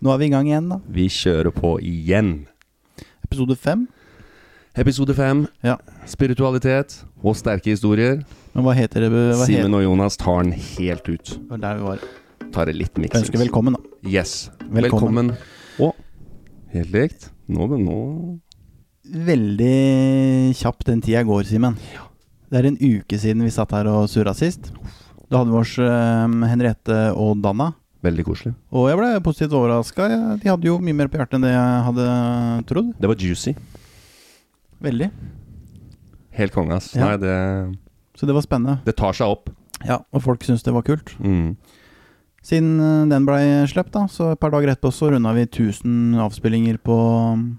Nå er vi i gang igjen, da. Vi kjører på igjen. Episode fem. Episode fem. Ja. Spiritualitet og sterke historier. Men hva heter det? Hva Simen og Jonas tar den helt ut. heter det der vi var? Tar det litt Jeg miksings. ønsker velkommen, da. Yes. Velkommen. Velkommen. Og helt likt Nå, men nå Veldig kjapt den tida går, Simen. Det er en uke siden vi satt her og surra sist. Da hadde vi oss eh, Henriette og Danna. Veldig koselig. Og jeg ble positivt overraska. De hadde jo mye mer på hjertet enn det jeg hadde trodd. Det var juicy. Veldig. Helt konge, ass. Ja. Nei, det, Så det var spennende. det tar seg opp. Ja, Og folk syntes det var kult. Mm. Siden eh, den blei sluppet, da, så et par dager etterpå så runda vi 1000 avspillinger på mm,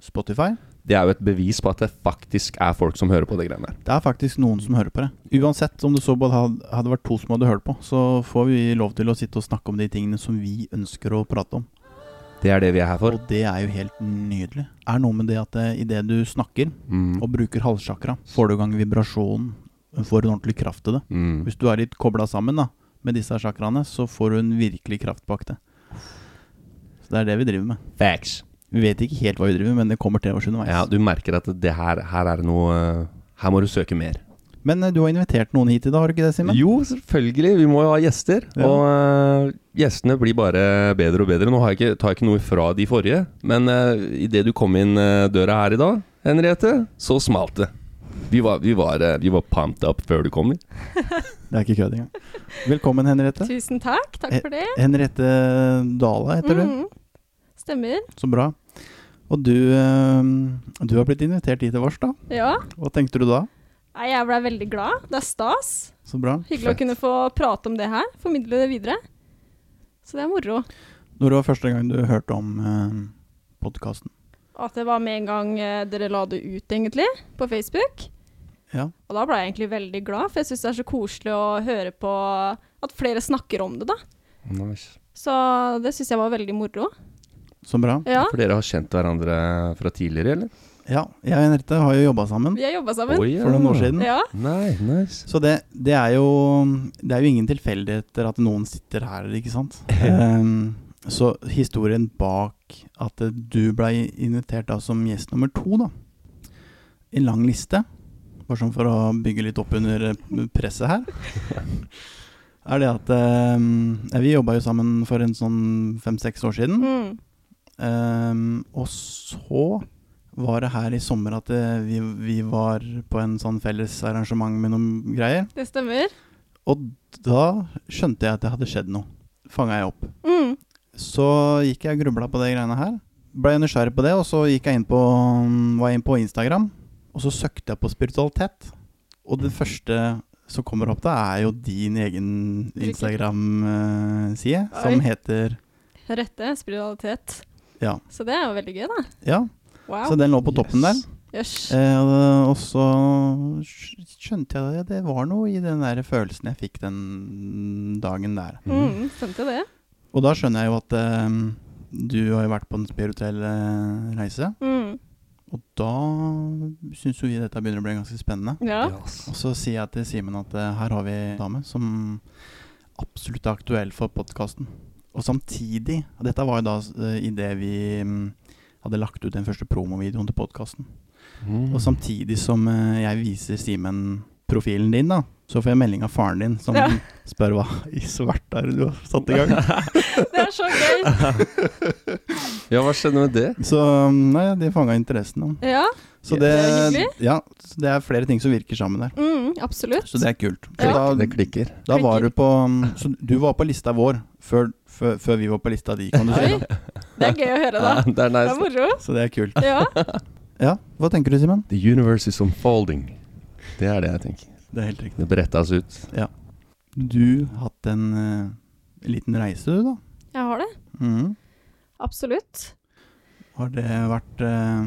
Spotify. Det er jo et bevis på at det faktisk er folk som hører på de greiene der. Det er faktisk noen som hører på det. Uansett om det så både had- hadde vært to som hadde hørt på, så får vi lov til å sitte og snakke om de tingene som vi ønsker å prate om. Det er det vi er her for. Og det er jo helt nydelig. Er noe med det at idet du snakker Mm. og bruker halssjakra, får du i gang vibrasjonen, får en ordentlig kraft til det. Mm. Hvis du er litt kobla sammen da, med disse sjakraene, så får du en virkelig kraft bak det. Så det er det vi driver med. Facts. Vi vet ikke helt hva vi driver med, men det kommer til oss underveis. Ja, du merker at det her, her er det noe Her må du søke mer. Men eh, du har invitert noen hit i dag, har du ikke det, Simen? Jo, selvfølgelig. Vi må jo ha gjester. Ja. Og øh, gjestene blir bare bedre og bedre. Nå har jeg ikke, tar jeg ikke noe fra de forrige, men uh, idet du kom inn øh, døra her i dag, Henriette, så smalt det. Vi var, vi, var, øh, vi var pumped up før du kom. vi. Det er ikke kødd engang. Velkommen, Henriette. Tusen takk. Takk for det. Henriette Dala Eh, heter du. Mm. Stemmer. Så bra. Og du, eh, du har blitt invitert hit til vårs, da. Ja. Hva tenkte du da? Nei, jeg ble veldig glad. Det er stas. Så bra. Hyggelig Fett. å kunne få prate om det her. Formidle det videre. Så det er moro. Når var første gang du hørte om eh, podkasten? At det var med en gang eh, dere la det ut, egentlig, på Facebook. Ja. Og da ble jeg egentlig veldig glad, for jeg syns det er så koselig å høre på at flere snakker om det, da. Så det syns jeg var veldig moro. Så bra. Ja. For dere har kjent hverandre fra tidligere, eller? Ja, jeg og Henriette har jo jobba sammen Vi har jobba sammen. Oi, ja. for noen år siden. Ja. Nei, nice. Så det, det, er jo, det er jo ingen tilfeldigheter at noen sitter her, ikke sant? Ehm, så historien bak at du ble invitert da som gjest nummer to, da. En lang liste, bare sånn for å bygge litt opp under eh, presset her. Er det at ehm, ja, Vi jobba jo sammen for en sånn fem-seks år siden. Mm. Ehm, og så var det her i sommer at eh, vi, vi var på en sånn felles arrangement med noen greier. Det stemmer. Og da skjønte jeg at det hadde skjedd noe. Fanga jeg opp. Mm. Så gikk jeg og grubla på de greiene her. Ble nysgjerrig på det, og så gikk jeg inn på, mm, var jeg inn på Instagram. Og så søkte jeg på spiritualitet. Og det første som kommer opp da, er jo din egen Instagram-side, Oi. som heter Rette spiritualitet. Ja. Så det er jo veldig gøy, da. Ja, Wow. så den lå på toppen der. Yes. Jøss. Eh, og- og så skjønte jeg at det var noe i den der følelsen jeg fikk den dagen der. Mm, skjønte det. Og da skjønner jeg jo at eh, du har jo vært på en spirituell eh, reise. Mm. Og da syns jo vi dette begynner å bli ganske spennende. Ja. Og så sier jeg til Simen at eh, her har vi en dame som absolutt er aktuell for podkasten. Og samtidig og Dette var jo da eh, i idet vi mm, hadde lagt ut den første promovideoen til podkasten. Mm. Og samtidig som eh, jeg viser Simen profilen din, da, så får jeg melding av faren din som Ja. spør hva i svarte er det du har satt i gang. Det er så gøy. Ja, hva skjedde med det? Så mm, nei, de fanga interessen. Da. Ja. Så det, Det er hyggelig. ja, så det er flere ting som virker sammen der. Mm, absolutt. Så det er kult. Så Ja. da- Det klikker. Da var du på um, Så du var på lista vår før, før, før vi var på lista di, kan du si. Oi. Det er gøy å høre, da. Ja, det er Det er nice. moro. Så det er kult. Ja. Ja, hva tenker du, Simen? The universe is unfolding. Det er det jeg tenker. Det er helt riktig. Det brettas ut. Du hatt en eh, liten reise, du, da. Jeg har det. Mhm. Absolutt. Har det vært eh,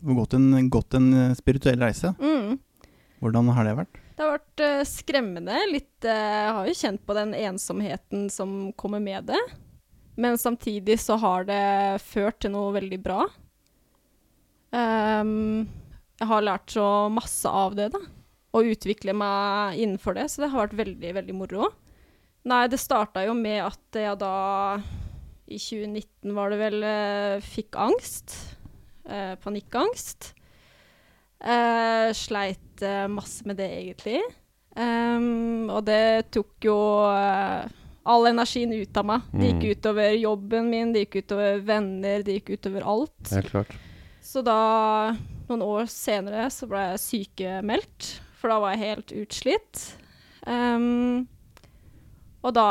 gått, en, gått en eh, spirituell reise? Mm. Hvordan har det vært? Det har vært eh, skremmende. Litt eh, Jeg har jo kjent på den ensomheten som kommer med det. Men samtidig så har det ført til noe veldig bra. Ehm, jeg har lært så masse av det, da. Og utvikle meg innenfor det, så det har vært veldig, veldig moro. Nei, det starta jo med at jeg da I 2019 var det vel eh, Fikk angst. Eh, panikkangst. Eh, sleit eh, masse med det, egentlig. Ehm, og det tok jo eh, all energien ut av meg. Det Mm. gikk utover jobben min, det gikk utover venner, det gikk utover alt. Helt klart. Så da, noen år senere, så ble jeg sykemeldt, for da var jeg helt utslitt. Ehm, og da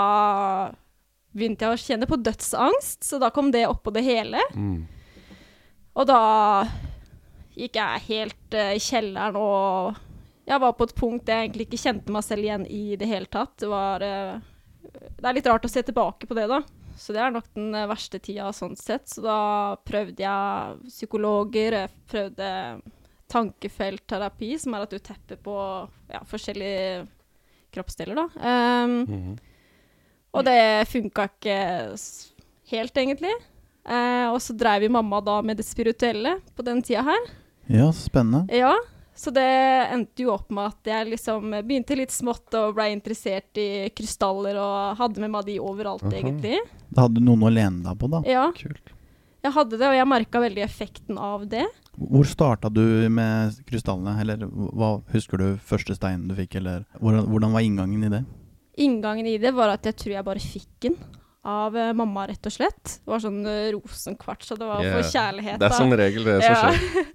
begynte jeg å kjenne på dødsangst, så da kom det oppå det hele. Mm. Og da gikk jeg helt eh, i kjelleren og jeg var på et punkt jeg egentlig ikke kjente meg selv igjen i det hele tatt. Det var eh, Det er litt rart å se tilbake på det, da. Så det er nok den eh, verste tida sånn sett. Så da prøvde jeg psykologer, jeg prøvde tankefeltterapi, som er at du tepper på ja, forskjellige kroppsdeler, da. Ehm, Mhm. og det funka ikke s- helt, egentlig. Eh, og så dreiv jo mamma da med det spirituelle på den tida her. Ja, så spennende. Ja, så det endte jo opp med at jeg liksom begynte litt smått og ble interessert i krystaller og hadde med meg de overalt, Aha. egentlig. Da hadde du noen å lene deg på, da. Ja, Kult. jeg hadde det, og jeg merka veldig effekten av det. Hvor starta du med krystallene, eller hva husker du første steinen du fikk, eller hvordan, hvordan var inngangen i det? Inngangen i det var at jeg tror jeg bare fikk den av eh, mamma, rett og slett. Det var sånn eh, rosenkvarts, og det var Yeah. for kjærlighet. Det er da. som regel det som Ja. skjer.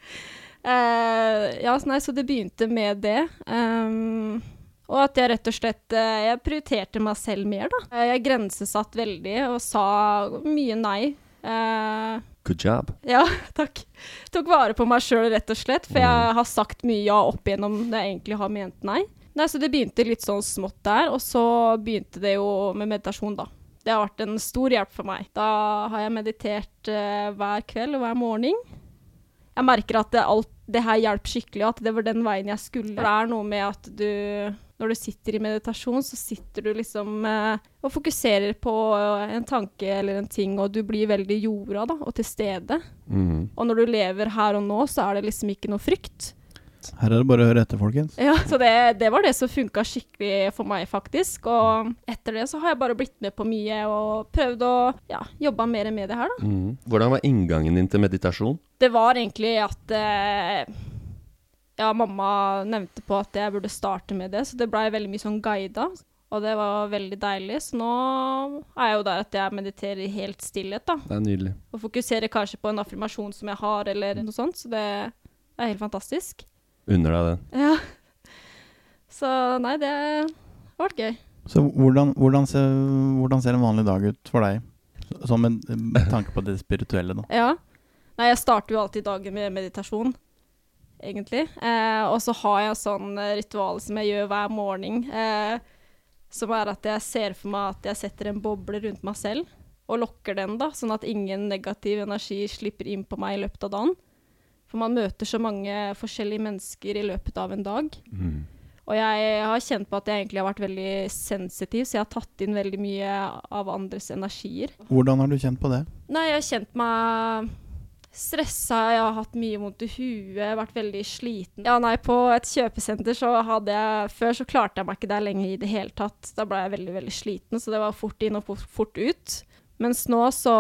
Eh, ja, så nei, så det begynte med det. Ehm, og at jeg rett og slett eh, Jeg prioriterte meg selv mer, da. Eh, jeg grensesatt veldig og sa mye nei. Eh, Good job. ja, takk. Tok vare på meg sjøl, rett og slett, for jeg har sagt mye ja opp igjennom når jeg egentlig har ment nei. Nei, Så det begynte litt sånn smått der, og så begynte det jo med meditasjon, da. Det har vært en stor hjelp for meg. Da har jeg meditert eh, hver kveld og hver morgen. Jeg merker at det, alt det her hjalp skikkelig, og at det var den veien jeg skulle. For det er noe med at du Når du sitter i meditasjon, så sitter du liksom eh, og fokuserer på eh, en tanke eller en ting, og du blir veldig jorda, da, og til stede. Mhm. Og når du lever her og nå, så er det liksom ikke noe frykt. Her er det bare å høre etter, folkens. Ja, Så det, det var det som funka skikkelig for meg, faktisk. Og etter det så har jeg bare blitt med på mye og prøvd å ja, jobbe mer med det her, da. Mhm. Hvordan var inngangen din til meditasjon? Det var egentlig at eh, Ja, mamma nevnte på at jeg burde starte med det, så det blei veldig mye sånn guida. Og det var veldig deilig, så nå er jeg jo der at jeg mediterer i helt stillhet, da. Det er nydelig. Og fokuserer kanskje på en affirmasjon som jeg har, eller noe sånt, så det er helt fantastisk. Unner deg den. Ja. Så nei, det har vært gøy. Så hvordan, hvordan, ser, hvordan ser en vanlig dag ut for deg? Som en med tanke på det spirituelle, da. Ja. Nei, jeg starter jo alltid dagen med meditasjon, egentlig. Eh, og så har jeg sånn eh, ritual som jeg gjør hver morgen, eh, som er at jeg ser for meg at jeg setter en boble rundt meg selv, og lokker den, da, sånn at ingen negativ energi slipper inn på meg i løpet av dagen. For man møter så mange forskjellige mennesker i løpet av en dag. Og jeg har kjent på at jeg egentlig har vært veldig sensitiv, så jeg har tatt inn veldig mye av andres energier. Hvordan har du kjent på det? Nei, jeg har kjent meg stressa, jeg har hatt mye vondt i huet, vært veldig sliten. Ja, nei, på et kjøpesenter så hadde jeg Før så klarte jeg meg ikke der lenger i det hele tatt. Da ble jeg veldig, veldig sliten, så det var fort inn og fort- fort ut. Mens nå så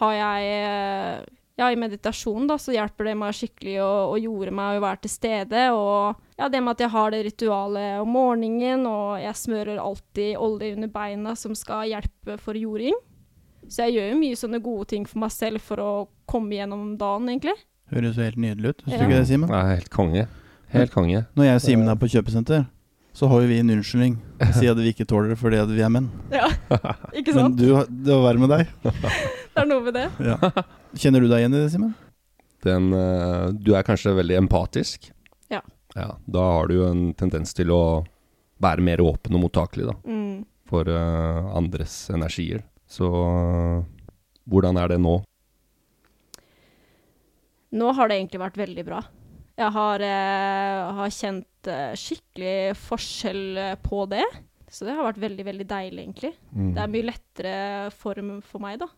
har jeg eh, Ja, i meditasjon, da, så hjelper det meg skikkelig å, å jorde meg og være til stede. Og ja, det med at jeg har det ritualet om morgenen, og jeg smører alltid olje under beina som skal hjelpe for jording. Så jeg gjør jo mye sånne gode ting for meg selv for å komme gjennom dagen, egentlig. Høres jo helt nydelig ut. Syns Ja. du ikke det, Simen? Nei, helt konge. Helt konge. Når jeg og Simen er på kjøpesenter, så har jo vi en unnskyldning. Vi sier at vi ikke tåler det fordi at vi er menn. Ja, ikke Men sant? du, har- det var verre med deg. Det er noe med det. Kjenner du deg igjen i det, Simen? Den, eh, du er kanskje veldig empatisk. Ja. Ja, Da har du jo en tendens til å være mer åpen og mottakelig da, Mm. for eh, andres energier. Så eh, hvordan er det nå? Nå har det egentlig vært veldig bra. Jeg har, eh, har kjent eh, skikkelig forskjell eh, på det. Så det har vært veldig, veldig deilig, egentlig. Det er mye lettere form for meg, da.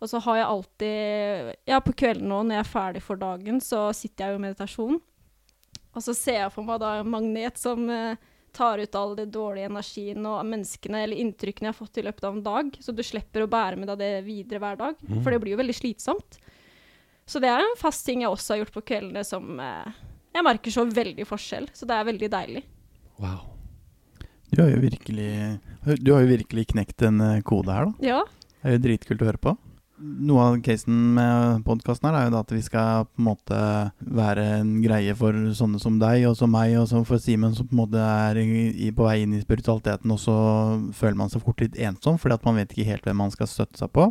Og så har jeg alltid Ja, på kvelden nå når jeg er ferdig for dagen, så sitter jeg jo i meditasjon. Og så ser jeg for meg da en magnet som eh, tar ut all den dårlige energien og menneskene eller inntrykkene jeg har fått i løpet av en dag, så du slipper å bære med deg det videre hver dag. For det blir jo veldig slitsomt. Så det er en fast ting jeg også har gjort på kveldene som eh, Jeg merker så veldig forskjell, så det er veldig deilig. Wow. Du har jo virkelig, du har jo virkelig knekt en eh, kode her, da. Ja. Det er jo dritkult å høre på. Noe av casen med podkasten her er jo da at vi skal på en måte være en greie for sånne som deg, og som meg, og som for Simen, som på en måte er i, på vei inn i spiritualiteten, og så føler man seg fort litt ensom, fordi at man vet ikke helt hvem man skal støtte seg på.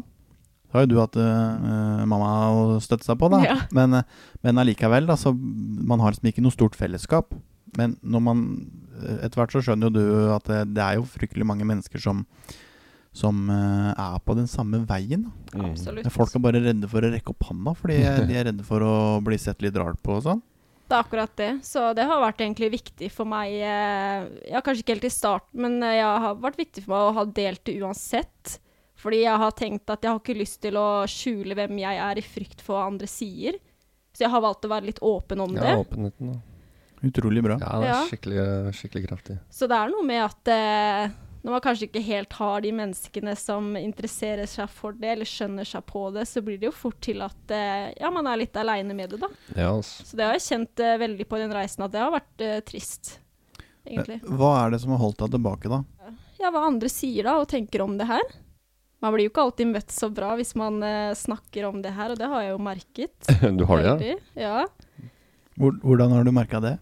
Så har jo du hatt øh, mamma å støtte seg på, da. Ja. Men, eh, men allikevel, da, så man har liksom ikke noe stort fellesskap. Men når man eh, Etter hvert så skjønner jo du at eh, det, det er jo fryktelig mange mennesker som som eh, er på den samme veien. da. Absolutt. Folk Mm. er bare redde for å rekke opp handa, fordi de er redde for å bli sett litt rart på og sånn. Det er akkurat det. Så det har vært egentlig viktig for meg eh, Ja, kanskje ikke helt i starten, men eh, jeg har vært viktig for meg å ha delt det uansett. Fordi jeg har tenkt at jeg har ikke lyst til å skjule hvem jeg er, i frykt for hva andre sier. Så jeg har valgt å være litt åpen om det. Ja, åpenheten. Da. Utrolig bra. Ja, det Ja. er skikkelig, skikkelig kraftig. Så det er noe med at eh, når man kanskje ikke helt har de menneskene som interesserer seg for det, eller skjønner seg på det, så blir det jo fort til at eh, ja, man er litt aleine med det, da. Ja, altså. Så det har jeg kjent eh, veldig på den reisen, at det har vært eh, trist, egentlig. Eh, Hva er det som har holdt deg tilbake, da? Ja, hva andre sier da, og tenker om det her. Man blir jo ikke alltid møtt så bra hvis man eh, snakker om det her, og det har jeg jo merket. Du har det, ja? Veldig, ja. Hvor- Hvordan har du merka det?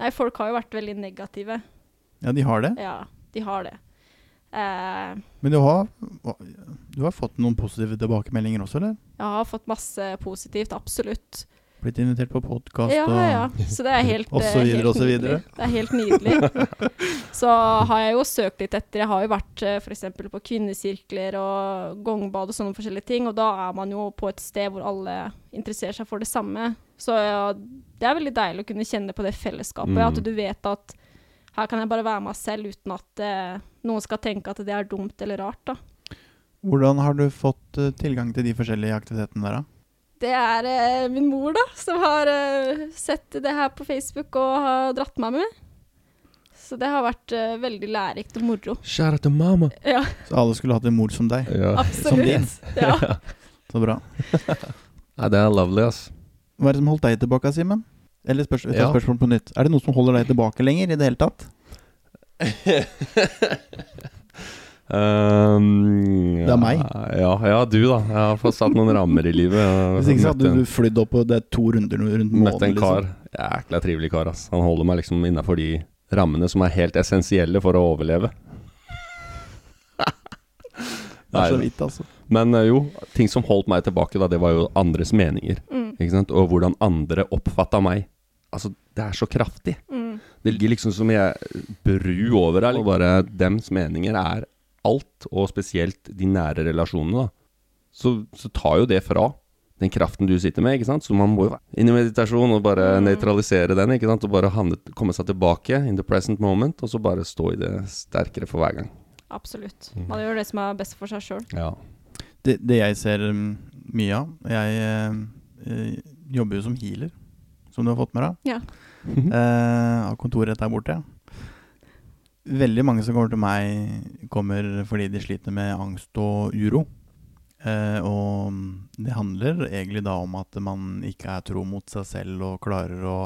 Nei, folk har jo vært veldig negative. Ja, de har det. Ja, de har det. Eh, Men du har, du har fått noen positive tilbakemeldinger også, eller? jeg har fått masse positivt, absolutt. Blitt invitert på podkast Ja, og ja. Så det er helt, Og så eh, videre, helt og så nydelig. videre. Det er helt nydelig. Så har jeg jo søkt litt etter. Jeg har jo vært f.eks. på kvinnesirkler og gongbad og sånne forskjellige ting, og da er man jo på et sted hvor alle interesserer seg for det samme. Så ja, det er veldig deilig å kunne kjenne på det fellesskapet, Mm. at du vet at her kan jeg bare være meg selv uten at eh, noen skal tenke at det er dumt eller rart, da. Hvordan har du fått eh, tilgang til de forskjellige aktivitetene der, da? Det er eh, min mor, da, som har eh, sett det her på Facebook og har dratt meg med. Så det har vært eh, veldig lærerikt og moro. Kjære til mamma. Ja, Så alle skulle hatt en mor som deg. Ja. Som din. absolutt. Ja. Så bra. Nei, det er lovely, ass. Hva er det som holdt deg tilbake, Simen? Eller spørs, vi tar Ja. spørsmål på nytt. Er det noe som holder deg tilbake lenger i det hele tatt? Um, Det er meg. Ja, ja, du da. Jeg har fått satt noen rammer i livet. Jeg Hvis ikke så Altså, møtte hadde en- du flydd opp, og det er to runder nå rundt månen. liksom. Møtte en kar. Jækla trivelig kar, ass. Han holder meg liksom innafor de rammene som er helt essensielle for å overleve. Liksom. Det er så Nei, vidt, altså. Men eh, jo, ting som holdt meg tilbake da, det var jo andres meninger. Ikke sant? Og hvordan andre oppfatta meg. Altså, det er så kraftig. Det ligger liksom som jeg bru over her. Og bare dems meninger er alt, og spesielt de nære relasjonene, da. Så, så tar jo det fra. den kraften du sitter med, ikke sant? så man må jo inn i meditasjon og bare nøytralisere den, ikke sant? og bare handle, komme seg tilbake in the present moment, og så bare stå i det sterkere for hver gang. Absolutt. Man gjør det som er best for seg sjøl. Ja. Det, det jeg ser mm, mye av Jeg eh, eh, jobber jo som healer, som du har fått med deg. Ja. Eh, har kontor rett der borte. Veldig mange som kommer til meg, kommer fordi de sliter med angst og uro. Eh, og det handler egentlig da om at man ikke er tro mot seg selv og klarer å,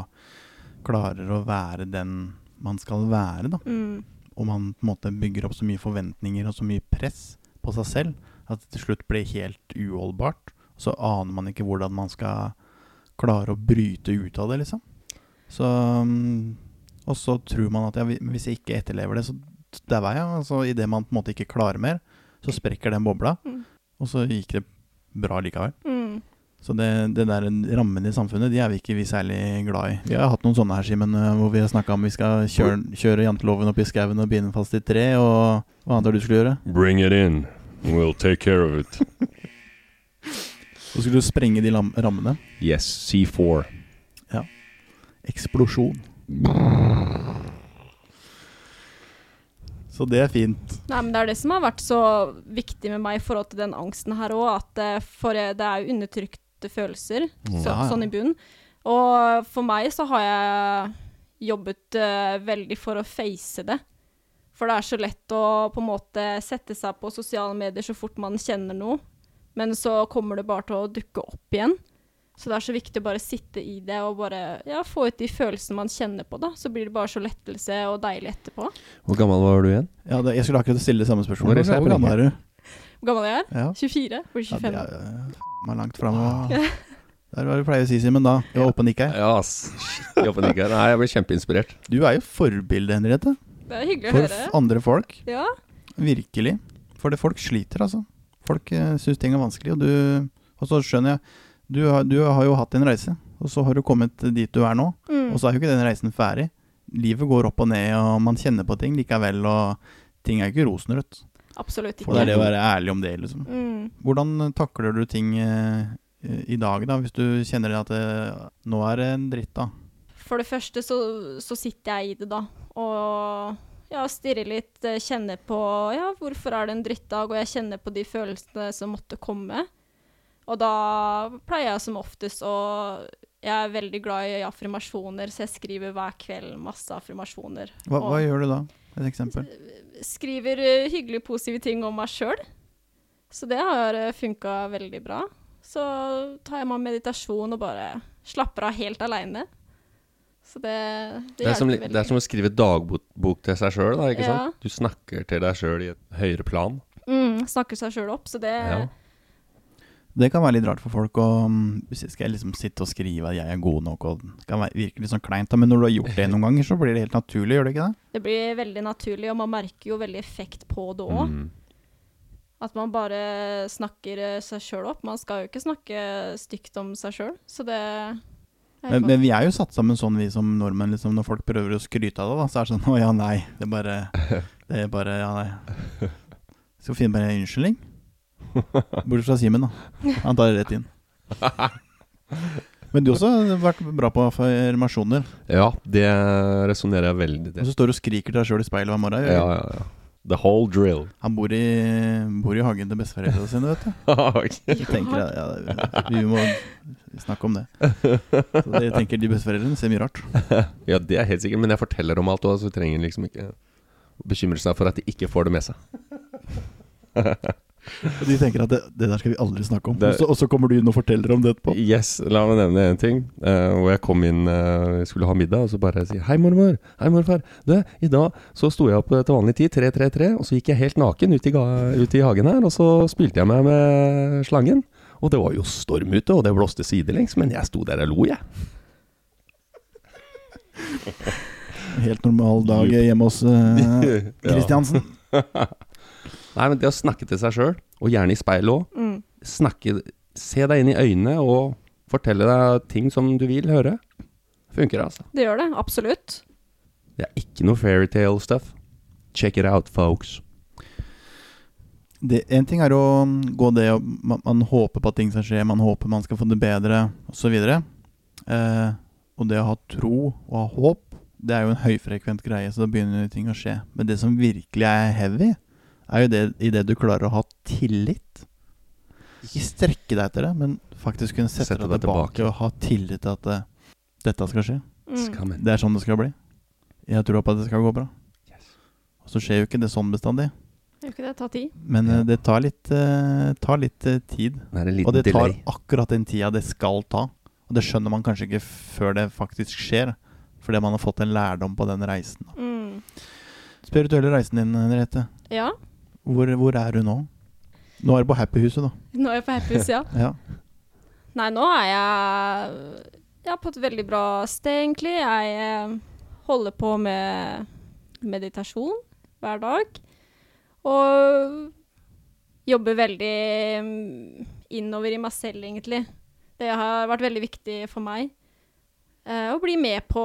klarer å være den man skal være, da Mm. og man på en måte bygger opp så mye forventninger og så mye press på seg selv at det til slutt blir helt uholdbart. Så aner man ikke hvordan man skal klare å bryte ut av det, liksom. Så, mm, og så tror man at ja, vi- hvis jeg ikke etterlever det, så dauer jeg. Altså, Idet man på en måte ikke klarer mer, så sprekker den bobla, Mm. og så gikk det bra likevel. Mm. Så det, det der rammene i samfunnet, de er vi ikke vi særlig glad i. Vi har hatt noen sånne her, Simen, eh, hvor vi har snakka om vi skal kjøre, kjøre janteloven opp i skauen og binde den fast i tre, og hva annet var det du skulle gjøre? Bring it in. We'll take care of it. Så skulle du sprenge de lam rammene. Yes, C4. Eksplosjon. Så det er fint. Nei, men Det er det som har vært så viktig med meg i forhold til den angsten her òg. At eh, for eh, det er jo undertrykte følelser, så, Ja, ja. sånn i bunnen. Og for meg så har jeg jobbet eh, veldig for å face det. For det er så lett å på en måte sette seg på sosiale medier så fort man kjenner noe. Men så kommer det bare til å dukke opp igjen. Så det er så viktig å bare sitte i det og bare ja, få ut de følelsene man kjenner på. da. Så blir det bare så lettelse og deilig etterpå. Hvor gammel var du igjen? Ja, det, jeg skulle akkurat stille det samme Hvor er spørsmålet. Hvor gammel er du? Hvor gammel er jeg? Ja. 24? Blir Ja, 25? det er eh, meg langt framover. Der var det du pleier å si, Simen, da. Du var oppe og nikka. Ja, ass. Jobben ikke her. Nei, jeg ble kjempeinspirert. Du er jo forbilde, Henriette, Det er hyggelig å for høre. f- andre folk. Ja, Virkelig. For det, folk sliter, altså. Folk uh, syns ting er vanskelig, og du Og så skjønner jeg du har, du har jo hatt en reise, og så har du kommet dit du er nå. Mm. Og så er jo ikke den reisen ferdig. Livet går opp og ned, og man kjenner på ting likevel, og ting er ikke rosenrødt. absolutt ikke. Og det er det å være ærlig om det, liksom. Mm. Hvordan takler du ting eh, i dag, da, hvis du kjenner at det, nå er det en dritt, da? For det første så, så sitter jeg i det, da. Og ja, stirrer litt, eh, kjenner på Ja, hvorfor er det en drittdag? Og jeg kjenner på de følelsene som måtte komme. Og da pleier jeg som oftest å Jeg er veldig glad i affirmasjoner, så jeg skriver hver kveld masse affirmasjoner. Hva, hva Og- gjør du da, et eksempel? skriver eh, hyggelige, positive ting om meg sjøl. Så det har funka veldig bra. Så tar jeg meg meditasjon og bare slapper av helt aleine. Så det, det, Det er, som, hjelper li- veldig. det er som å skrive dagbok bok til seg sjøl, da. Ikke Ja. sant? Du snakker til deg sjøl i et høyere plan. mm, snakker seg sjøl opp, så det Ja. Det kan være litt rart for folk å mm, Skal jeg liksom sitte og skrive at jeg er god nok, og det kan være- virke litt sånn kleint, da, men når du har gjort det noen ganger, så blir det helt naturlig, gjør det ikke det? Det blir veldig naturlig, og man merker jo veldig effekt på det òg. Mm. At man bare snakker eh, seg sjøl opp. Man skal jo ikke snakke stygt om seg sjøl, så det er Men, helt men vi er jo satt sammen sånn, vi som nordmenn, liksom, når folk prøver å skryte av det, da, så er det sånn Å ja, nei. Det er bare Det er bare Ja, nei. Skal finne bare en unnskyldning. Bortsett fra Simen, da. Han tar det rett inn. Men du også har vært bra på affirmasjoner. ja, det resonnerer jeg veldig Og til. så står du og skriker til deg sjøl i speilet hver morgen. gjør du Ja, ikke? ja, ja. The whole drill. Han bor i, bor i hagen til besteforeldrene sine, vet du. Ok. Jeg tenker at ja, det- Vi må snakke om det. Så jeg tenker De besteforeldrene ser mye rart. ja, det er helt sikkert. Men jeg forteller om alt òg, så vi trenger liksom ikke bekymre seg for at de ikke får det med seg. Og De tenker at det, det der skal vi aldri snakke om. Det- Og så- Og så kommer du inn og forteller om det etterpå. Yes, la meg nevne en ting. eh, hvor jeg kom inn, eh, skulle ha middag, og så bare sier Hei, mormor. Hei, morfar. Du, i dag så sto jeg opp eh, til vanlig tid, 3-3-3, og så gikk jeg helt naken ut i, ga ut i hagen her, og så spilte jeg meg med slangen. Og det var jo storm ute, og det blåste sidelengs, men jeg sto der og lo, jeg. Helt normal dag hjemme hos eh, Kristiansen. Nei, men det å snakke til seg sjøl, og gjerne i speilet òg, Mm. snakke Se deg inn i øynene og fortelle deg ting som du vil høre. Funker det, altså. Det gjør det, absolutt. Det er ikke noe fairytale-stuff. Check it out, folks. det, En ting er å um, gå det og man, man håper på at ting skal skje, man håper man skal få det bedre, osv. Eh, og det å ha tro og ha håp, det er jo en høyfrekvent greie, så da begynner jo ting å skje. Men det som virkelig er heavy, er jo det i det du klarer å ha tillit. Ikke strekke deg etter det, men faktisk kunne sette, Sette deg, deg tilbake, tilbake. og ha tillit til at eh, dette skal skje. Mm. Skammen. Det er sånn det skal bli. Jeg tror på at det skal gå bra. Og så skjer jo ikke det sånn bestandig. Gjør ikke det? Ta tid. Men Ja. eh, det tar litt, eh, tar litt eh, tid. Det er en Og liten det tar delay. akkurat den tida det skal ta. Og det skjønner man kanskje ikke før det faktisk skjer. Fordi man har fått en lærdom på den reisen. Mm. Spirituelle reisen din, Henriette. Ja. Hvor, hvor er du nå? Nå er du på Happyhuset, da. Nå er jeg på Happyhus, ja. Ja. Nei, nå er jeg, jeg er på et veldig bra sted, egentlig. Jeg eh, holder på med meditasjon hver dag. Og jobber veldig mm, innover i meg selv, egentlig. Det har vært veldig viktig for meg. eh, Å bli med på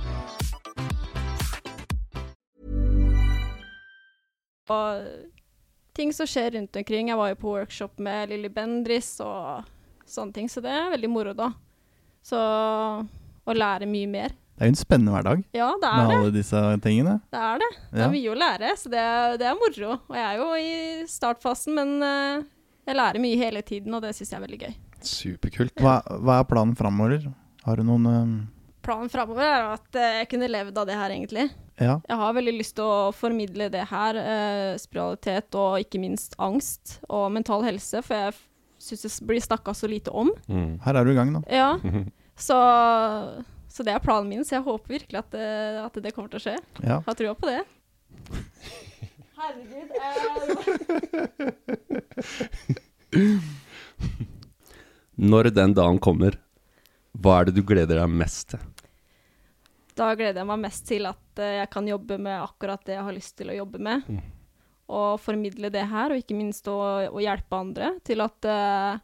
og ting som skjer rundt omkring. Jeg var jo på workshop med Lilly Bendris og sånne ting, så det er veldig moro, da. Så å lære mye mer. Det er jo en spennende hverdag Ja, det er med det. alle disse tingene. Det er det. Det Ja. er mye å lære, så det, er- det er moro. Og jeg er jo i startfasen, men eh, jeg lærer mye hele tiden, og det syns jeg er veldig gøy. Superkult. Hva, hva er planen framover? Har du noen Planen framover er at eh, jeg kunne levd av det her, egentlig. eh, Ja. Jeg har veldig lyst til å formidle det her, eh, spiritualitet og ikke minst angst og mental helse, for jeg syns det blir snakka så lite om. Mm. Her er du i gang, da. Ja, så, så det er planen min, så jeg håper virkelig at det, at det kommer til å skje. Ja. Jeg har trua på det. Herregud. Når den dagen kommer, hva er det du gleder deg mest til? Da gleder jeg meg mest til at eh, jeg kan jobbe med akkurat det jeg har lyst til å jobbe med. Og formidle det her, og ikke minst å, å hjelpe andre til at eh,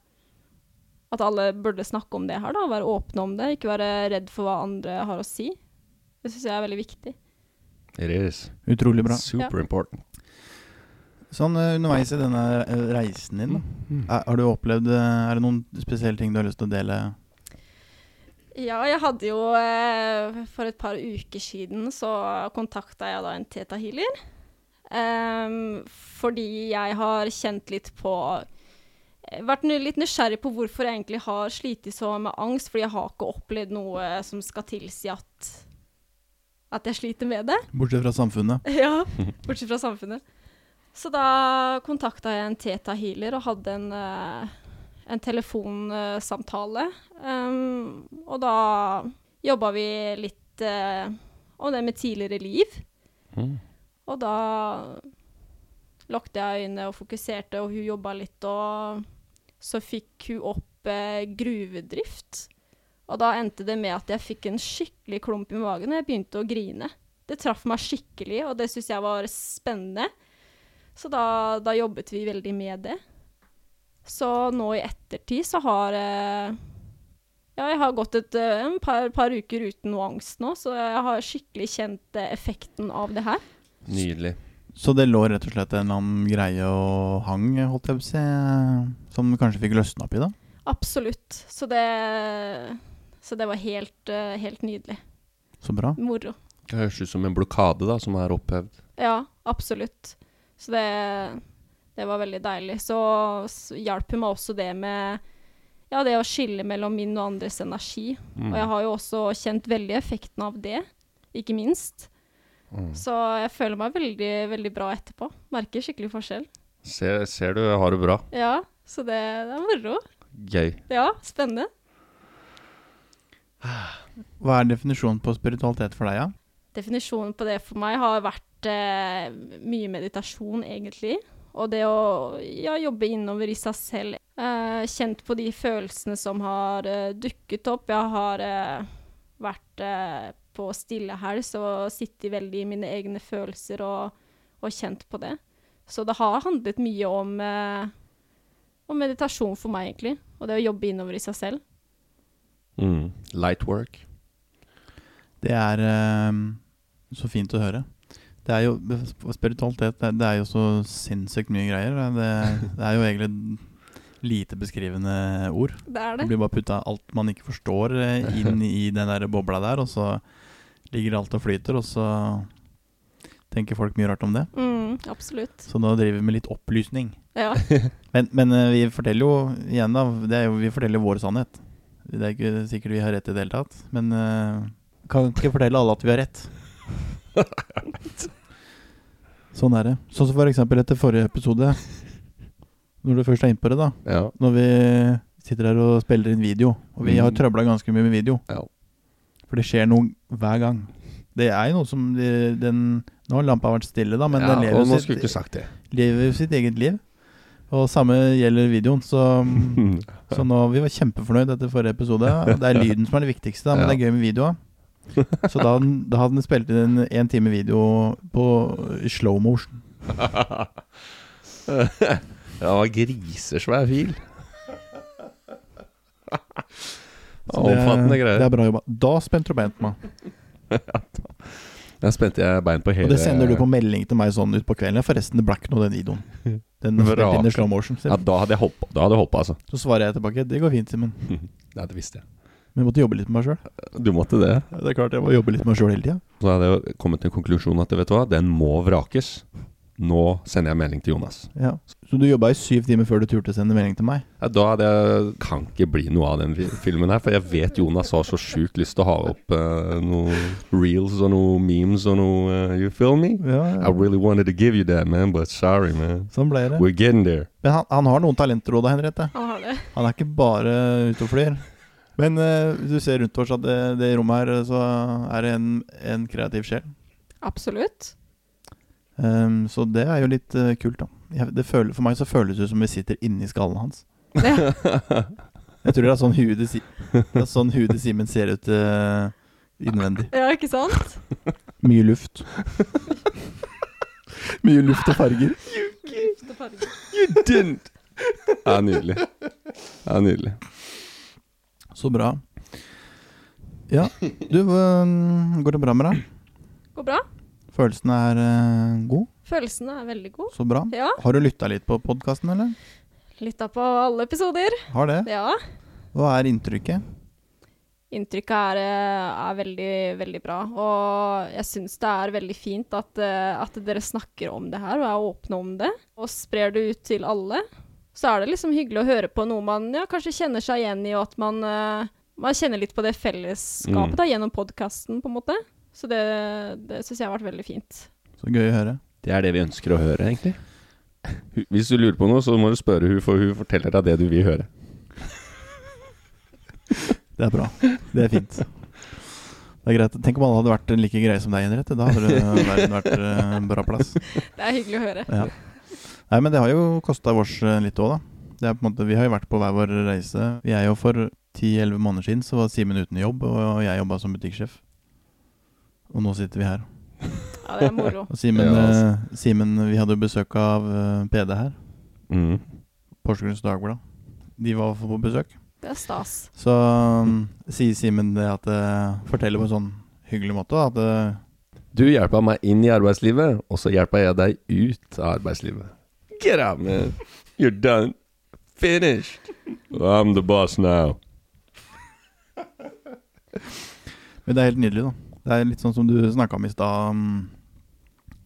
at alle burde snakke om det her, da. Være åpne om det. Ikke være redd for hva andre har å si. Det syns jeg er veldig viktig. It is Utrolig bra. super important. Sånn eh, underveis i denne eh, reisen din, da. Er, har du opplevd eh, Er det noen spesielle ting du har lyst til å dele? Ja, jeg hadde jo eh, For et par uker siden så kontakta jeg da en Teta Healer. Ehm, fordi jeg har kjent litt på eh, Vært nu- litt nysgjerrig på hvorfor jeg egentlig har slitt så med angst. Fordi jeg har ikke opplevd noe som skal tilsi at at jeg sliter med det. Bortsett fra samfunnet. Ja, bortsett fra samfunnet. Så da kontakta jeg en Teta Healer og hadde en, eh, en telefonsamtale. Um, og da jobba vi litt eh, om det med tidligere liv. Og da lukket jeg øynene og fokuserte, og hun jobba litt, og så fikk hun opp eh, gruvedrift. Og da endte det med at jeg fikk en skikkelig klump i magen, og jeg begynte å grine. Det traff meg skikkelig, og det syntes jeg var spennende. Så da, da jobbet vi veldig med det. Så nå i ettertid så har eh, Ja, jeg har gått et eh, en par, par uker uten noe angst nå, så jeg har skikkelig kjent eh, effekten av det her. Nydelig. Så det lå rett og slett en eller annen greie og hang, holdt jeg på å si, eh, som du kanskje fikk løsna opp i, da? Absolutt. Så det, så det var helt, eh, helt nydelig. Så bra. Moro. Det høres ut som en blokade da, som er opphevd. Ja, absolutt. Så det, Det var veldig deilig. Så s- hjalp hun meg også det med ja, det å skille mellom min og andres energi. Og jeg har jo også kjent veldig effekten av det, ikke minst. Så jeg føler meg veldig, veldig bra etterpå. Merker skikkelig forskjell. Ser, ser du, jeg har det bra. Ja, så det, det er moro. Gøy. Ja, spennende. Hva er definisjonen på spiritualitet for deg, ja? Definisjonen på det for meg har vært eh, mye meditasjon, egentlig. Og det å ja, jobbe innover i seg selv. Eh, kjent på de følelsene som har eh, dukket opp. Jeg har eh, vært eh, på stillehelg og sittet veldig i mine egne følelser og, og kjent på det. Så det har handlet mye om, eh, om meditasjon for meg, egentlig. Og det å jobbe innover i seg selv. Mm. Light work. Det er ehm, så fint å høre. Det er jo spiritualitet det, det er jo så sinnssykt mye greier. Det, det er jo egentlig lite beskrivende ord. Det er Det det. blir bare putta alt man ikke forstår, eh, inn i den der bobla der, og så ligger alt og flyter, og så tenker folk mye rart om det. Mm, absolutt. Så nå driver vi med litt opplysning. Ja. Men, men eh, vi forteller jo igjen, da. Det er jo, vi forteller vår sannhet. Det er ikke sikkert vi har rett i det hele tatt. Men eh, kan ikke fortelle alle at vi har rett. sånn er det. Sånn som for eksempel etter forrige episode. Når du først er inne på det, da. Ja. Når vi sitter her og spiller inn video. Og vi har Mm. trøbla ganske mye med video. Ja. For det skjer noe hver gang. Det er jo noe som de, den Nå har lampa vært stille, da, men ja, den lever og nå sitt- skulle jeg ikke sagt det. lever jo sitt eget liv. Og samme gjelder videoen, så, Mm. så nå, vi var kjempefornøyd etter forrige episode. Og det er lyden som er det viktigste, da, men Ja. det er gøy med videoa. Så da, da hadde den spilt inn en én time video på i slow motion. Det var grisesvær fil. Så det- Omfattende greier. Det er bra jobba. Da spente du bein på meg. Der spente jeg bein på hele Og det sender du på melding til meg sånn utpå kvelden. Forresten, det ble ikke noe, den videoen. Den var spilt inn i Vrake. slow motion. Ja, Så, da hadde jeg hoppa, da hadde jeg hoppa altså. så svarer jeg tilbake. Det går fint, Simen. Nei, det visste jeg. Men jeg måtte jobbe litt med meg sjøl. Du måtte det. Ja, det er klart jeg må jobbe litt med meg sjøl hele tida. Så hadde jeg jo kommet til en konklusjon at vet du hva, den må vrakes. Nå sender jeg melding til Jonas. Ja. Så du jobba i syv timer før du turte å sende melding til meg? Ja, da hadde jeg kan ikke bli noe av den fi- filmen her, for jeg vet Jonas har så sjukt lyst til å ha opp eh, noe reels og noe memes og noe eh, You feel me? Ja, I really wanted to give you that, man, but sorry, man. Sånn ble det. We're getting there. Men han, han har noen talenter òg, da, Henriette. Han har det. Han er ikke bare ute og flyr. Men eh, du ser rundt oss at det, det rommet her, eh, så er det en, en kreativ sjel. Absolutt. Ehm, så det er jo litt eh, kult, da. Jeg, det føler, for meg så føles det ut som vi sitter inni skallen hans. Ja. Jeg tror det er sånn huet til Si- det er sånn huet til Simen ser ut eh, innvendig. Ja, ikke sant? Mye luft. Mye luft og farger. Det er nydelig. Det er nydelig. Så bra. Ja, du, hva- går det bra med deg? Går bra. Følelsen er eh, god? Følelsene er veldig gode. Så bra. Ja. Har du lytta litt på podkasten, eller? Lytta på alle episoder. Har det. Ja. Hva er inntrykket? Inntrykket er, eh, er veldig, veldig bra. Og jeg syns det er veldig fint at, eh, at dere snakker om det her og er åpne om det. Og sprer det ut til alle. Så er det liksom hyggelig å høre på noe man ja, kanskje kjenner seg igjen i, og at man, eh, man kjenner litt på det fellesskapet Mm. da, gjennom podkasten, på en måte. Så det, det syns jeg har vært veldig fint. Så gøy å høre. Det er det vi ønsker å høre, egentlig. Hu- Hvis du lurer på noe, så må du spørre hun, for hun forteller deg det du vil høre. Det er bra. Det er fint. Det er greit. Tenk om alle hadde vært like greie som deg, Henriette. Da hadde det verden vært eh, en bra plass. Det er hyggelig å høre. Ja. Nei, men det har jo kosta oss eh, litt òg, da. Det er på en måte, vi har jo vært på hver vår reise. Vi er jo For 10-11 måneder siden så var Simen uten jobb, og jeg jobba som butikksjef. Og nå sitter vi her. Ja, det er moro. Og Simen, Ja, altså. eh, Simen vi hadde jo besøk av eh, PD her. Mm. Porsgrunns Dagblad. De var på besøk. Det er stas. Så um, sier Simen det at eh, Forteller på en sånn hyggelig måte da, at eh, Du hjelpa meg inn i arbeidslivet, og så hjelpa jeg deg ut av arbeidslivet. Get out, man. You're done. Finished. I'm the boss now. Men det er helt nydelig, da. Det er litt sånn som du snakka om i stad, um,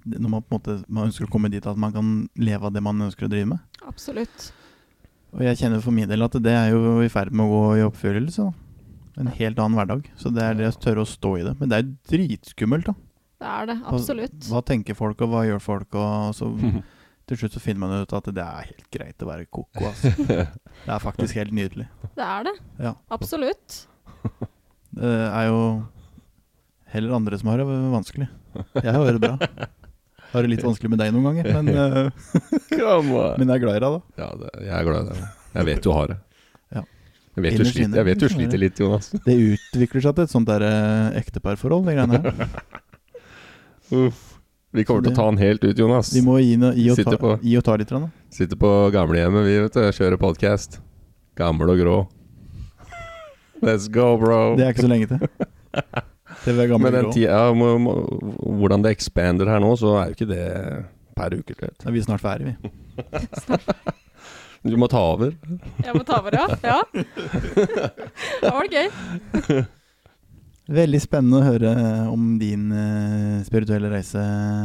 når man på en måte man ønsker å komme dit at man kan leve av det man ønsker å drive med. Absolutt. Og jeg kjenner for min del at det er jo i ferd med å gå i oppfyllelse. Da. En helt annen hverdag. Så det er det å tørre å stå i det. Men det er jo dritskummelt, da. Det er det. Hva- Absolutt. Hva tenker folk, og hva gjør folk? Og så til slutt så finner man ut at det er helt greit å være koko, altså. Det er faktisk helt nydelig. Det er det. Ja. Absolutt. Det er jo heller andre som har det vanskelig. Jeg har det bra. Har det litt vanskelig med deg noen ganger, men, eh, Come on. men jeg er glad i deg, da. Ja, det, jeg er glad i deg. Jeg vet du har det. Ja. Jeg vet du Innerst sliter, inne. jeg vet du sliter litt, Jonas. Det utvikler seg til et sånt der eh, ekteparforhold, de greiene her. Uff. Vi kommer til å ta han helt ut, Jonas. Vi må gi, no- gi, og, ta, Sitter på. gi og ta litt, grann, da. Sitter på gamlehjemmet, vi, vet du. Kjører podkast. Gammel og grå. Let's go, bro. Det er ikke så lenge til. Det vil jeg Med gammel den grå. tida, ja, må, må, hvordan det expander her nå, så er jo ikke det per uke. du vet. Da er vi snart ferdig, vi. Du må ta over. Jeg må ta over, ja. ja. Det var det gøy. Veldig spennende å høre om din eh, spirituelle reise,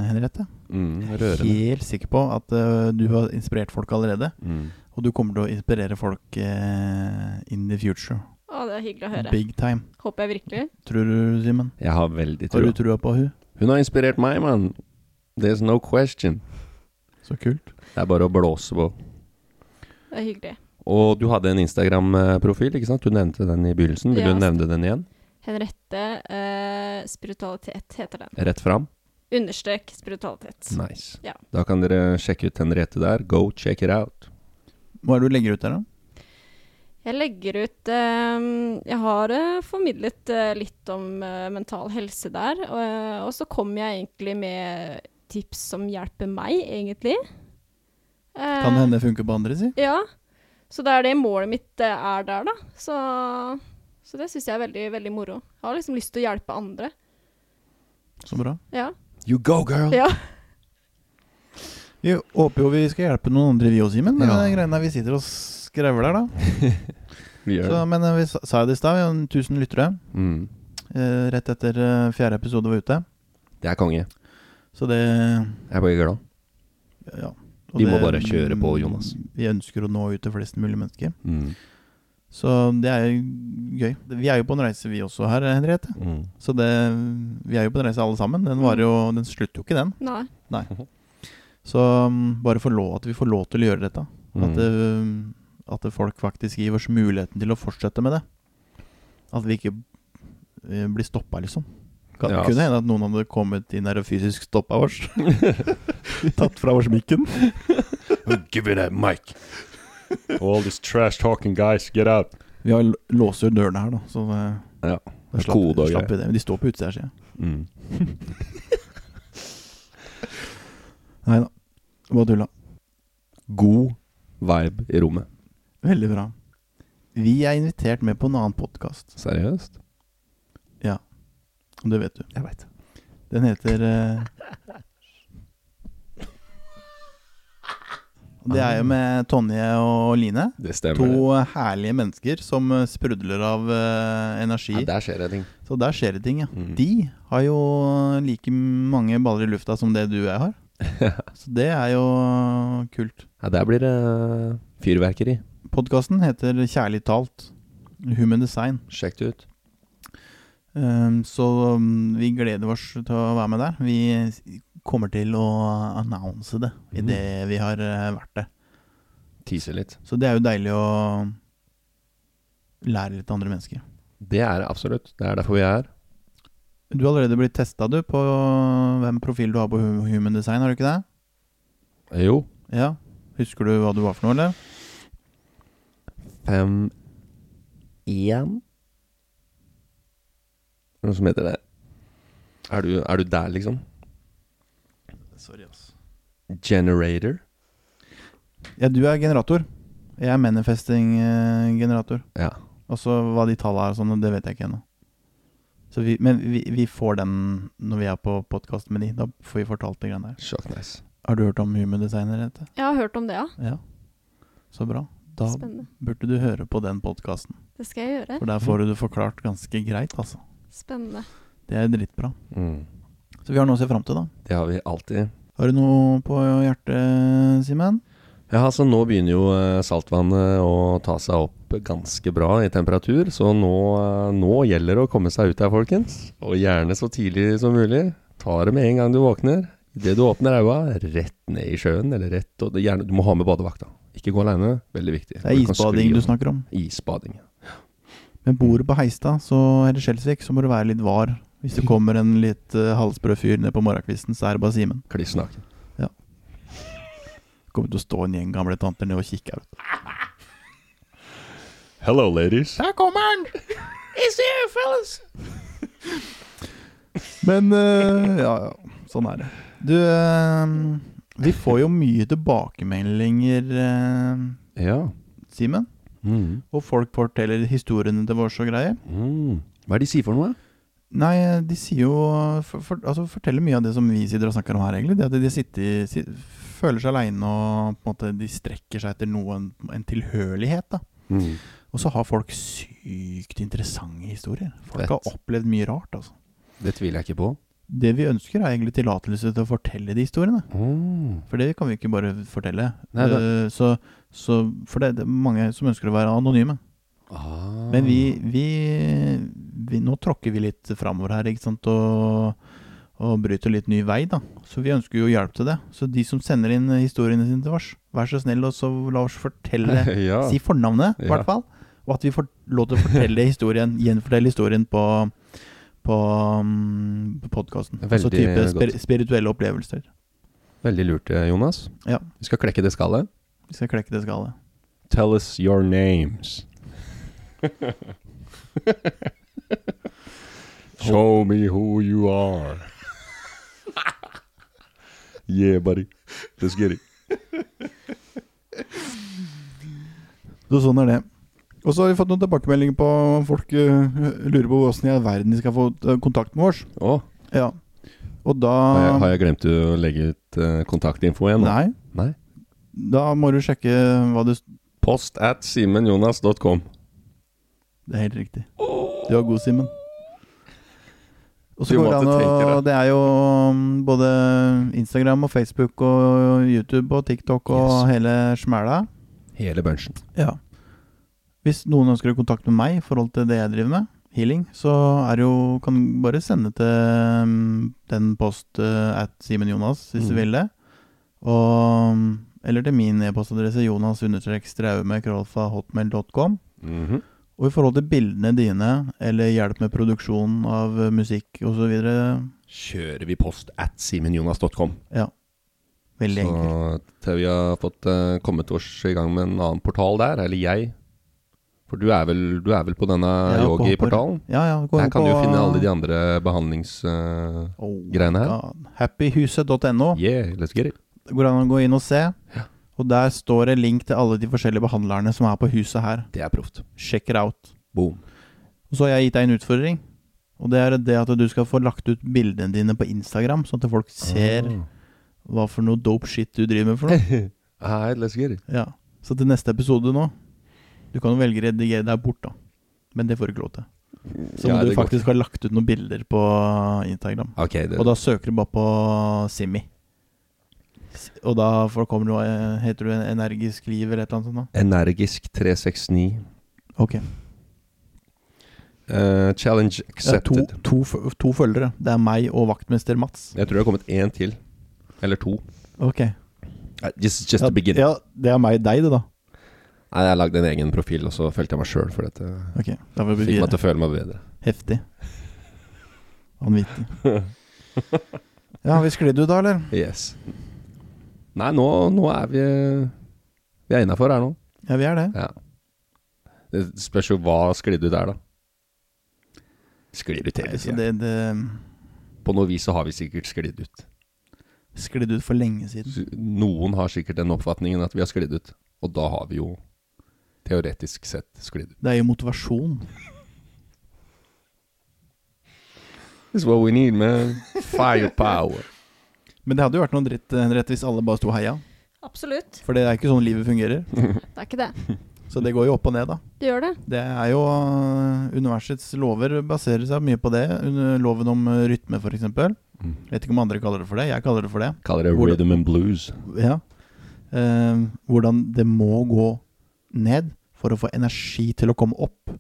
Henriette. Mm, Jeg er rørende. helt sikker på at eh, du har inspirert folk allerede. Mm. Og du kommer til å inspirere folk eh, in the future. Å, det er hyggelig å høre. Big time. Håper jeg virkelig. Tror du, Simen? Jeg har veldig Har trua. du trua på hun? Hun har inspirert meg, mann. There's no question. Så kult. Det er bare å blåse på. Det er hyggelig. Og du hadde en Instagram-profil, ikke sant? Du nevnte den i begynnelsen. Vil Ja, du nevne den igjen? Henriette eh, Spiritualitet heter den. Rett fram? Understrek spiritualitet. Nice. Ja. Da kan dere sjekke ut Henriette der. Go check it out. Hva er det du legger ut der, da? Jeg legger ut eh, Jeg har eh, formidlet eh, litt om eh, mental helse der. Og, eh, og så kommer jeg egentlig med tips som hjelper meg, egentlig. Eh, Kan det hende det funker på andre, si? Ja. Så det er det målet mitt eh, er der, da. Så, så det syns jeg er veldig, veldig moro. Jeg har liksom lyst til å hjelpe andre. Så bra. Ja. You go, girl! ja. Vi håper jo vi skal hjelpe noen andre, vi òg, Simen. Men Ja. eh, greiene er vi sitter og skrevler, da. Vi gjør Så, det. men eh, vi sa- sa jo det i stad, vi har 1000 lyttere Mm. eh, rett etter eh, fjerde episode var ute. Det er konge. Så det Jeg blir glad. Ja. Og Vi må det- bare kjøre på, Jonas. Vi ønsker å nå ut til flest mulig mennesker. Mm. Så det er jo gøy. Vi er jo på en reise vi også her, Henriette. Mm. Så det, vi er jo på en reise alle sammen. Den, varer jo, den slutter jo ikke, den. Nei. Så um, bare for lov, at vi får lov til å gjøre dette. Mm. At, det, um, at det folk faktisk gir oss muligheten til å fortsette med det. At vi ikke eh, blir stoppa, liksom. Kan, Ja, ass. kunne hende at noen hadde kommet inn her og fysisk stoppa oss. Tatt fra oss mikken. Give me that mic. All this trash talking guys, get out. Vi har l- låser jo dørene her, da. Så eh, Ja. da slapp, Kode og slapp greier. vi det. Men de står på utsida, sier jeg. Mm. Nei da. Bare tulla. God vibe i rommet. Veldig bra. Vi er invitert med på en annen podkast. Seriøst? Det vet du. Jeg veit. Den heter eh, Og Det er jo med Tonje og Line. Det stemmer. To eh, herlige mennesker som eh, sprudler av eh, energi. Ja, der skjer det ting. Så der skjer det ting, ja. Mm. De har jo like mange baller i lufta som det du og jeg har. Så det er jo kult. Ja, der blir det eh, fyrverkeri. Podkasten heter Kjærlig talt. Human design. Sjekk det ut. Um, Så um, vi gleder oss til å være med der. Vi s- kommer til å annonse det Mm. idet vi har eh, vært der. Tise litt. Så det er jo deilig å lære litt av andre mennesker. Det er det absolutt. Det er derfor vi er her. Du har allerede blitt testa, du, på hvem profil du har på hu- Human Design, har du ikke det? Jo. Ja. Husker du hva du var for noe, eller? Fem Én Noe som heter det. Er du, er du der, liksom? Sorry, ass. Generator? Ja, du er generator. Jeg er eh, manifesting-generator. Ja. Og så hva de tallene er og sånn, det vet jeg ikke ennå. Så vi, men vi, vi får den når vi er på podkast med de. Da får vi fortalt de greiene der. Sjokk nice. Har du hørt om human designer, Henriette? Jeg har hørt om det, ja. Ja. Så bra. Da Spennende. burde du høre på den podkasten. Det skal jeg gjøre. For der får du det forklart ganske greit, altså. Spennende. Det er dritbra. Mm. Så vi har noe å se fram til, da. Det har vi alltid. Har du noe på hjertet, Simen? Ja, altså Nå begynner jo eh, saltvannet å ta seg opp ganske bra i temperatur, så nå, eh, nå gjelder det å komme seg ut der, folkens. Og gjerne så tidlig som mulig. Ta det med en gang du våkner. Idet du åpner øya, rett ned i sjøen, eller rett og gjerne, Du må ha med badevakt, da. Ikke gå aleine. Veldig viktig. Det er kan skli isbading du om. snakker om. Isbading. Men bor du på Heistad så, eller Skjelsvik, så må du være litt var. Hvis det kommer en litt uh, halvsprø fyr ned på morgenkvisten, så er det bare Simen. Kliss naken. Kommer til å stå en gjeng gamle tanter ned og kikke ut. Hello, ladies. Der kommer han! Men eh, ja, ja. Sånn er det. Du, eh, vi får jo mye tilbakemeldinger, eh, Ja. Simen. Mm. Og folk forteller historiene til vårs og greier. Mm. Hva er det de sier for noe? Nei, de sier jo for, for, altså, Forteller mye av det som vi sitter og snakker om her, egentlig. Det at de sitter, si- føler seg aleine og på en måte de strekker seg etter noen, en tilhørighet. da Mm. Og så har folk sykt interessante historier. Folk Fett. har opplevd mye rart, altså. Det tviler jeg ikke på. Det vi ønsker, er egentlig tillatelse til å fortelle de historiene. Mm. For det kan vi ikke bare fortelle. Nei, det- Eh, så, så, for det, det er mange som ønsker å være anonyme. Ah. Men vi, vi, vi Nå tråkker vi litt framover her, ikke sant, og, og bryter litt ny vei, da. Så vi ønsker jo hjelp til det. Så de som sender inn historiene sine til oss, vær så snill, og så la oss fortelle ja. Si fornavnet, i Ja. hvert fall. Og at vi får lov til å fortelle historien, gjenfortelle historien på, på, um, på podkasten. Altså Veldig type godt. spir spirituelle opplevelser. Veldig lurt, eh, Jonas. Ja. Vi skal klekke det skallet. Vi skal klekke det skallet. Tell us your names. Show me who you are. yeah, buddy. Let's get it. Så sånn er det. Og så har vi fått noen tilbakemeldinger på folk eh, lurer på åssen i all verden de skal få eh, kontakt med oss. Å, Ja. Og da har, jeg, har jeg glemt å legge ut eh, kontaktinfo igjen? nå? Nei. Nei. Da må du sjekke hva du Post at simenjonas.com. Det er helt riktig. Du var god, Simen. Og så Du går det an måtte tenke å det. Det er jo mm, både Instagram og Facebook og YouTube og TikTok og Yes. hele smæla. Hele bunchen. Ja. Hvis noen ønsker å kontakte meg i forhold til det jeg driver med, healing, så er det jo Kan du bare sende til mm, den post eh, at Simen Jonas, hvis du Mm. vil det. Og mm, Eller til min e-postadresse jonas-straume-hotmail.com. Mhm. Og i forhold til bildene dine, eller hjelp med produksjon av eh, musikk osv. Kjører vi post at simenjonas.com. Ja. Veldig enkelt. Så til vi har fått eh, kommet oss i gang med en annen portal der, eller jeg. For du er vel, du er vel på denne Ja, på yogi-portalen? Ja, ja, gå Der inn kan på, du jo finne alle de andre behandlings... eh, oh, greiene her. God. Happyhuset.no. yeah, let's get it. Det går an å gå inn og se. Og der står det link til alle de forskjellige behandlerne som er på huset her. Det er proft. Check it out. Boom. Og så har jeg gitt deg en utfordring. Og det er det at du skal få lagt ut bildene dine på Instagram, sånn at folk ser Ah. hva for noe dope shit du driver med for noe. All right, Ah. let's get it. Ja, så til neste episode nå Du kan jo velge å redigere deg bort da Men det får du ikke lov til Så Ja, må du det går. faktisk ha lagt ut noen bilder på Instagram Ok, det, Og da søker du bare på Simi S- Og da får- kommer du eh, Heter du en- Energisk liv eller et eller annet sånt Energisk da 369. Ok Eh, challenge ja, to, accepted. to, f- to følgere Det er meg og vaktmester Mats Jeg tror det har kommet én til. Eller to. Ok Nei, Just, just ja, to begin. ja, det er meg deg det da Nei, jeg lagde en egen profil, og så følte jeg meg sjøl for dette. Ok, da får vi Fikk meg videre til å føle meg bedre. Heftig Vanvittig Ja, har vi sklidd ut da, eller? Yes. Nei, nå, nå er vi Vi er innafor her nå. Ja, vi er det Ja. Det spørs jo hva sklir du der, da. Sklir du til, Nei, så sier jeg. det, um, det På noe vis så har vi sikkert sklidd ut. sklidd ut for lenge siden. S- Noen har sikkert den oppfatningen at vi har sklidd ut, og da har vi jo teoretisk sett sklidd ut. Det er jo motivasjon. This is what we need, man. Firepower. Men det hadde jo vært eh, noe dritt Henriette, hvis alle bare sto og heia. Absolutt. For det er ikke sånn livet fungerer. Det er ikke det. Så det går jo opp og ned, da. Det gjør det. Det er jo øh, Universets lover baserer seg mye på det. Under Loven om øh, rytme, f.eks. Vet ikke om andre kaller det for det. Jeg kaller det for det. Kaller det Hvordan- rhythm and blues. Ja. Eh, hvordan det må gå ned for å få energi til å komme opp.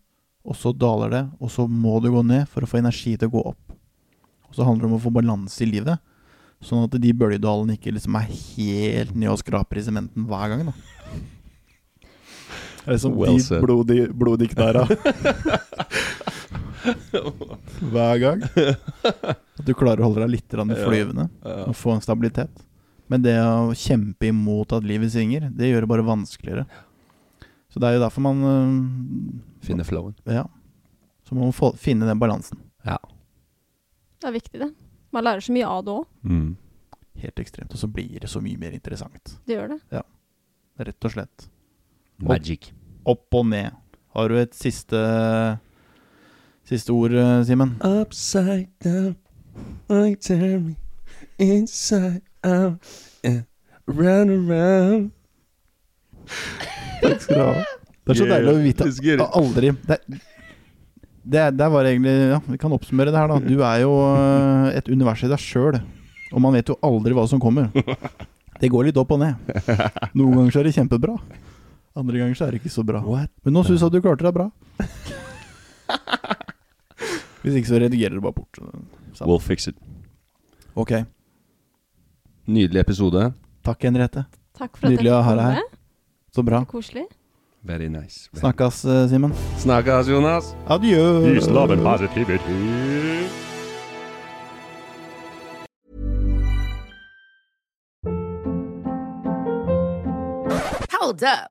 Og så daler det, og så må du gå ned for å få energi til å gå opp. Og så handler det om å få balanse i livet, sånn at de bøljedalene ikke liksom er helt nede og skraper i sementen hver gang. da Det er Well de said. blodige, blodige knæra. hver gang. At du klarer å holde deg litt grann flyvende og få en stabilitet. Men det å kjempe imot at livet svinger, det gjør det bare vanskeligere. Så det er jo derfor man øh, Finne flowen. Ja. Så man må få, finne den balansen. Ja. Det er viktig, det. Man lærer så mye av det òg. Mm. Helt ekstremt. Og så blir det så mye mer interessant. Det gjør det. Rett og slett. Magic. Opp og ned. Har du et siste Siste ord, øh, Simen? Upside down, like tear me inside out and round around. Takk skal du ha. Det er så deilig å vite It's good. at aldri det, det, det var egentlig Ja, vi kan oppsummere det her, da. Du er jo øh, et univers i deg sjøl. Og man vet jo aldri hva som kommer. Det går litt opp og ned. Noen ganger så er det kjempebra. Andre ganger så er det ikke så bra. Men nå syns jeg at du klarte deg bra. Hvis ikke så redigerer du bare bort. Samme. We'll fix it. Ok. Nydelig episode. Takk, Henriette. Takk for at Nydelig å ha fikk deg komme. her. Så bra. Koselig. Very nice. Very- Snakkes, eh, Simen. Snakkes, Jonas. Adjø. Hold up.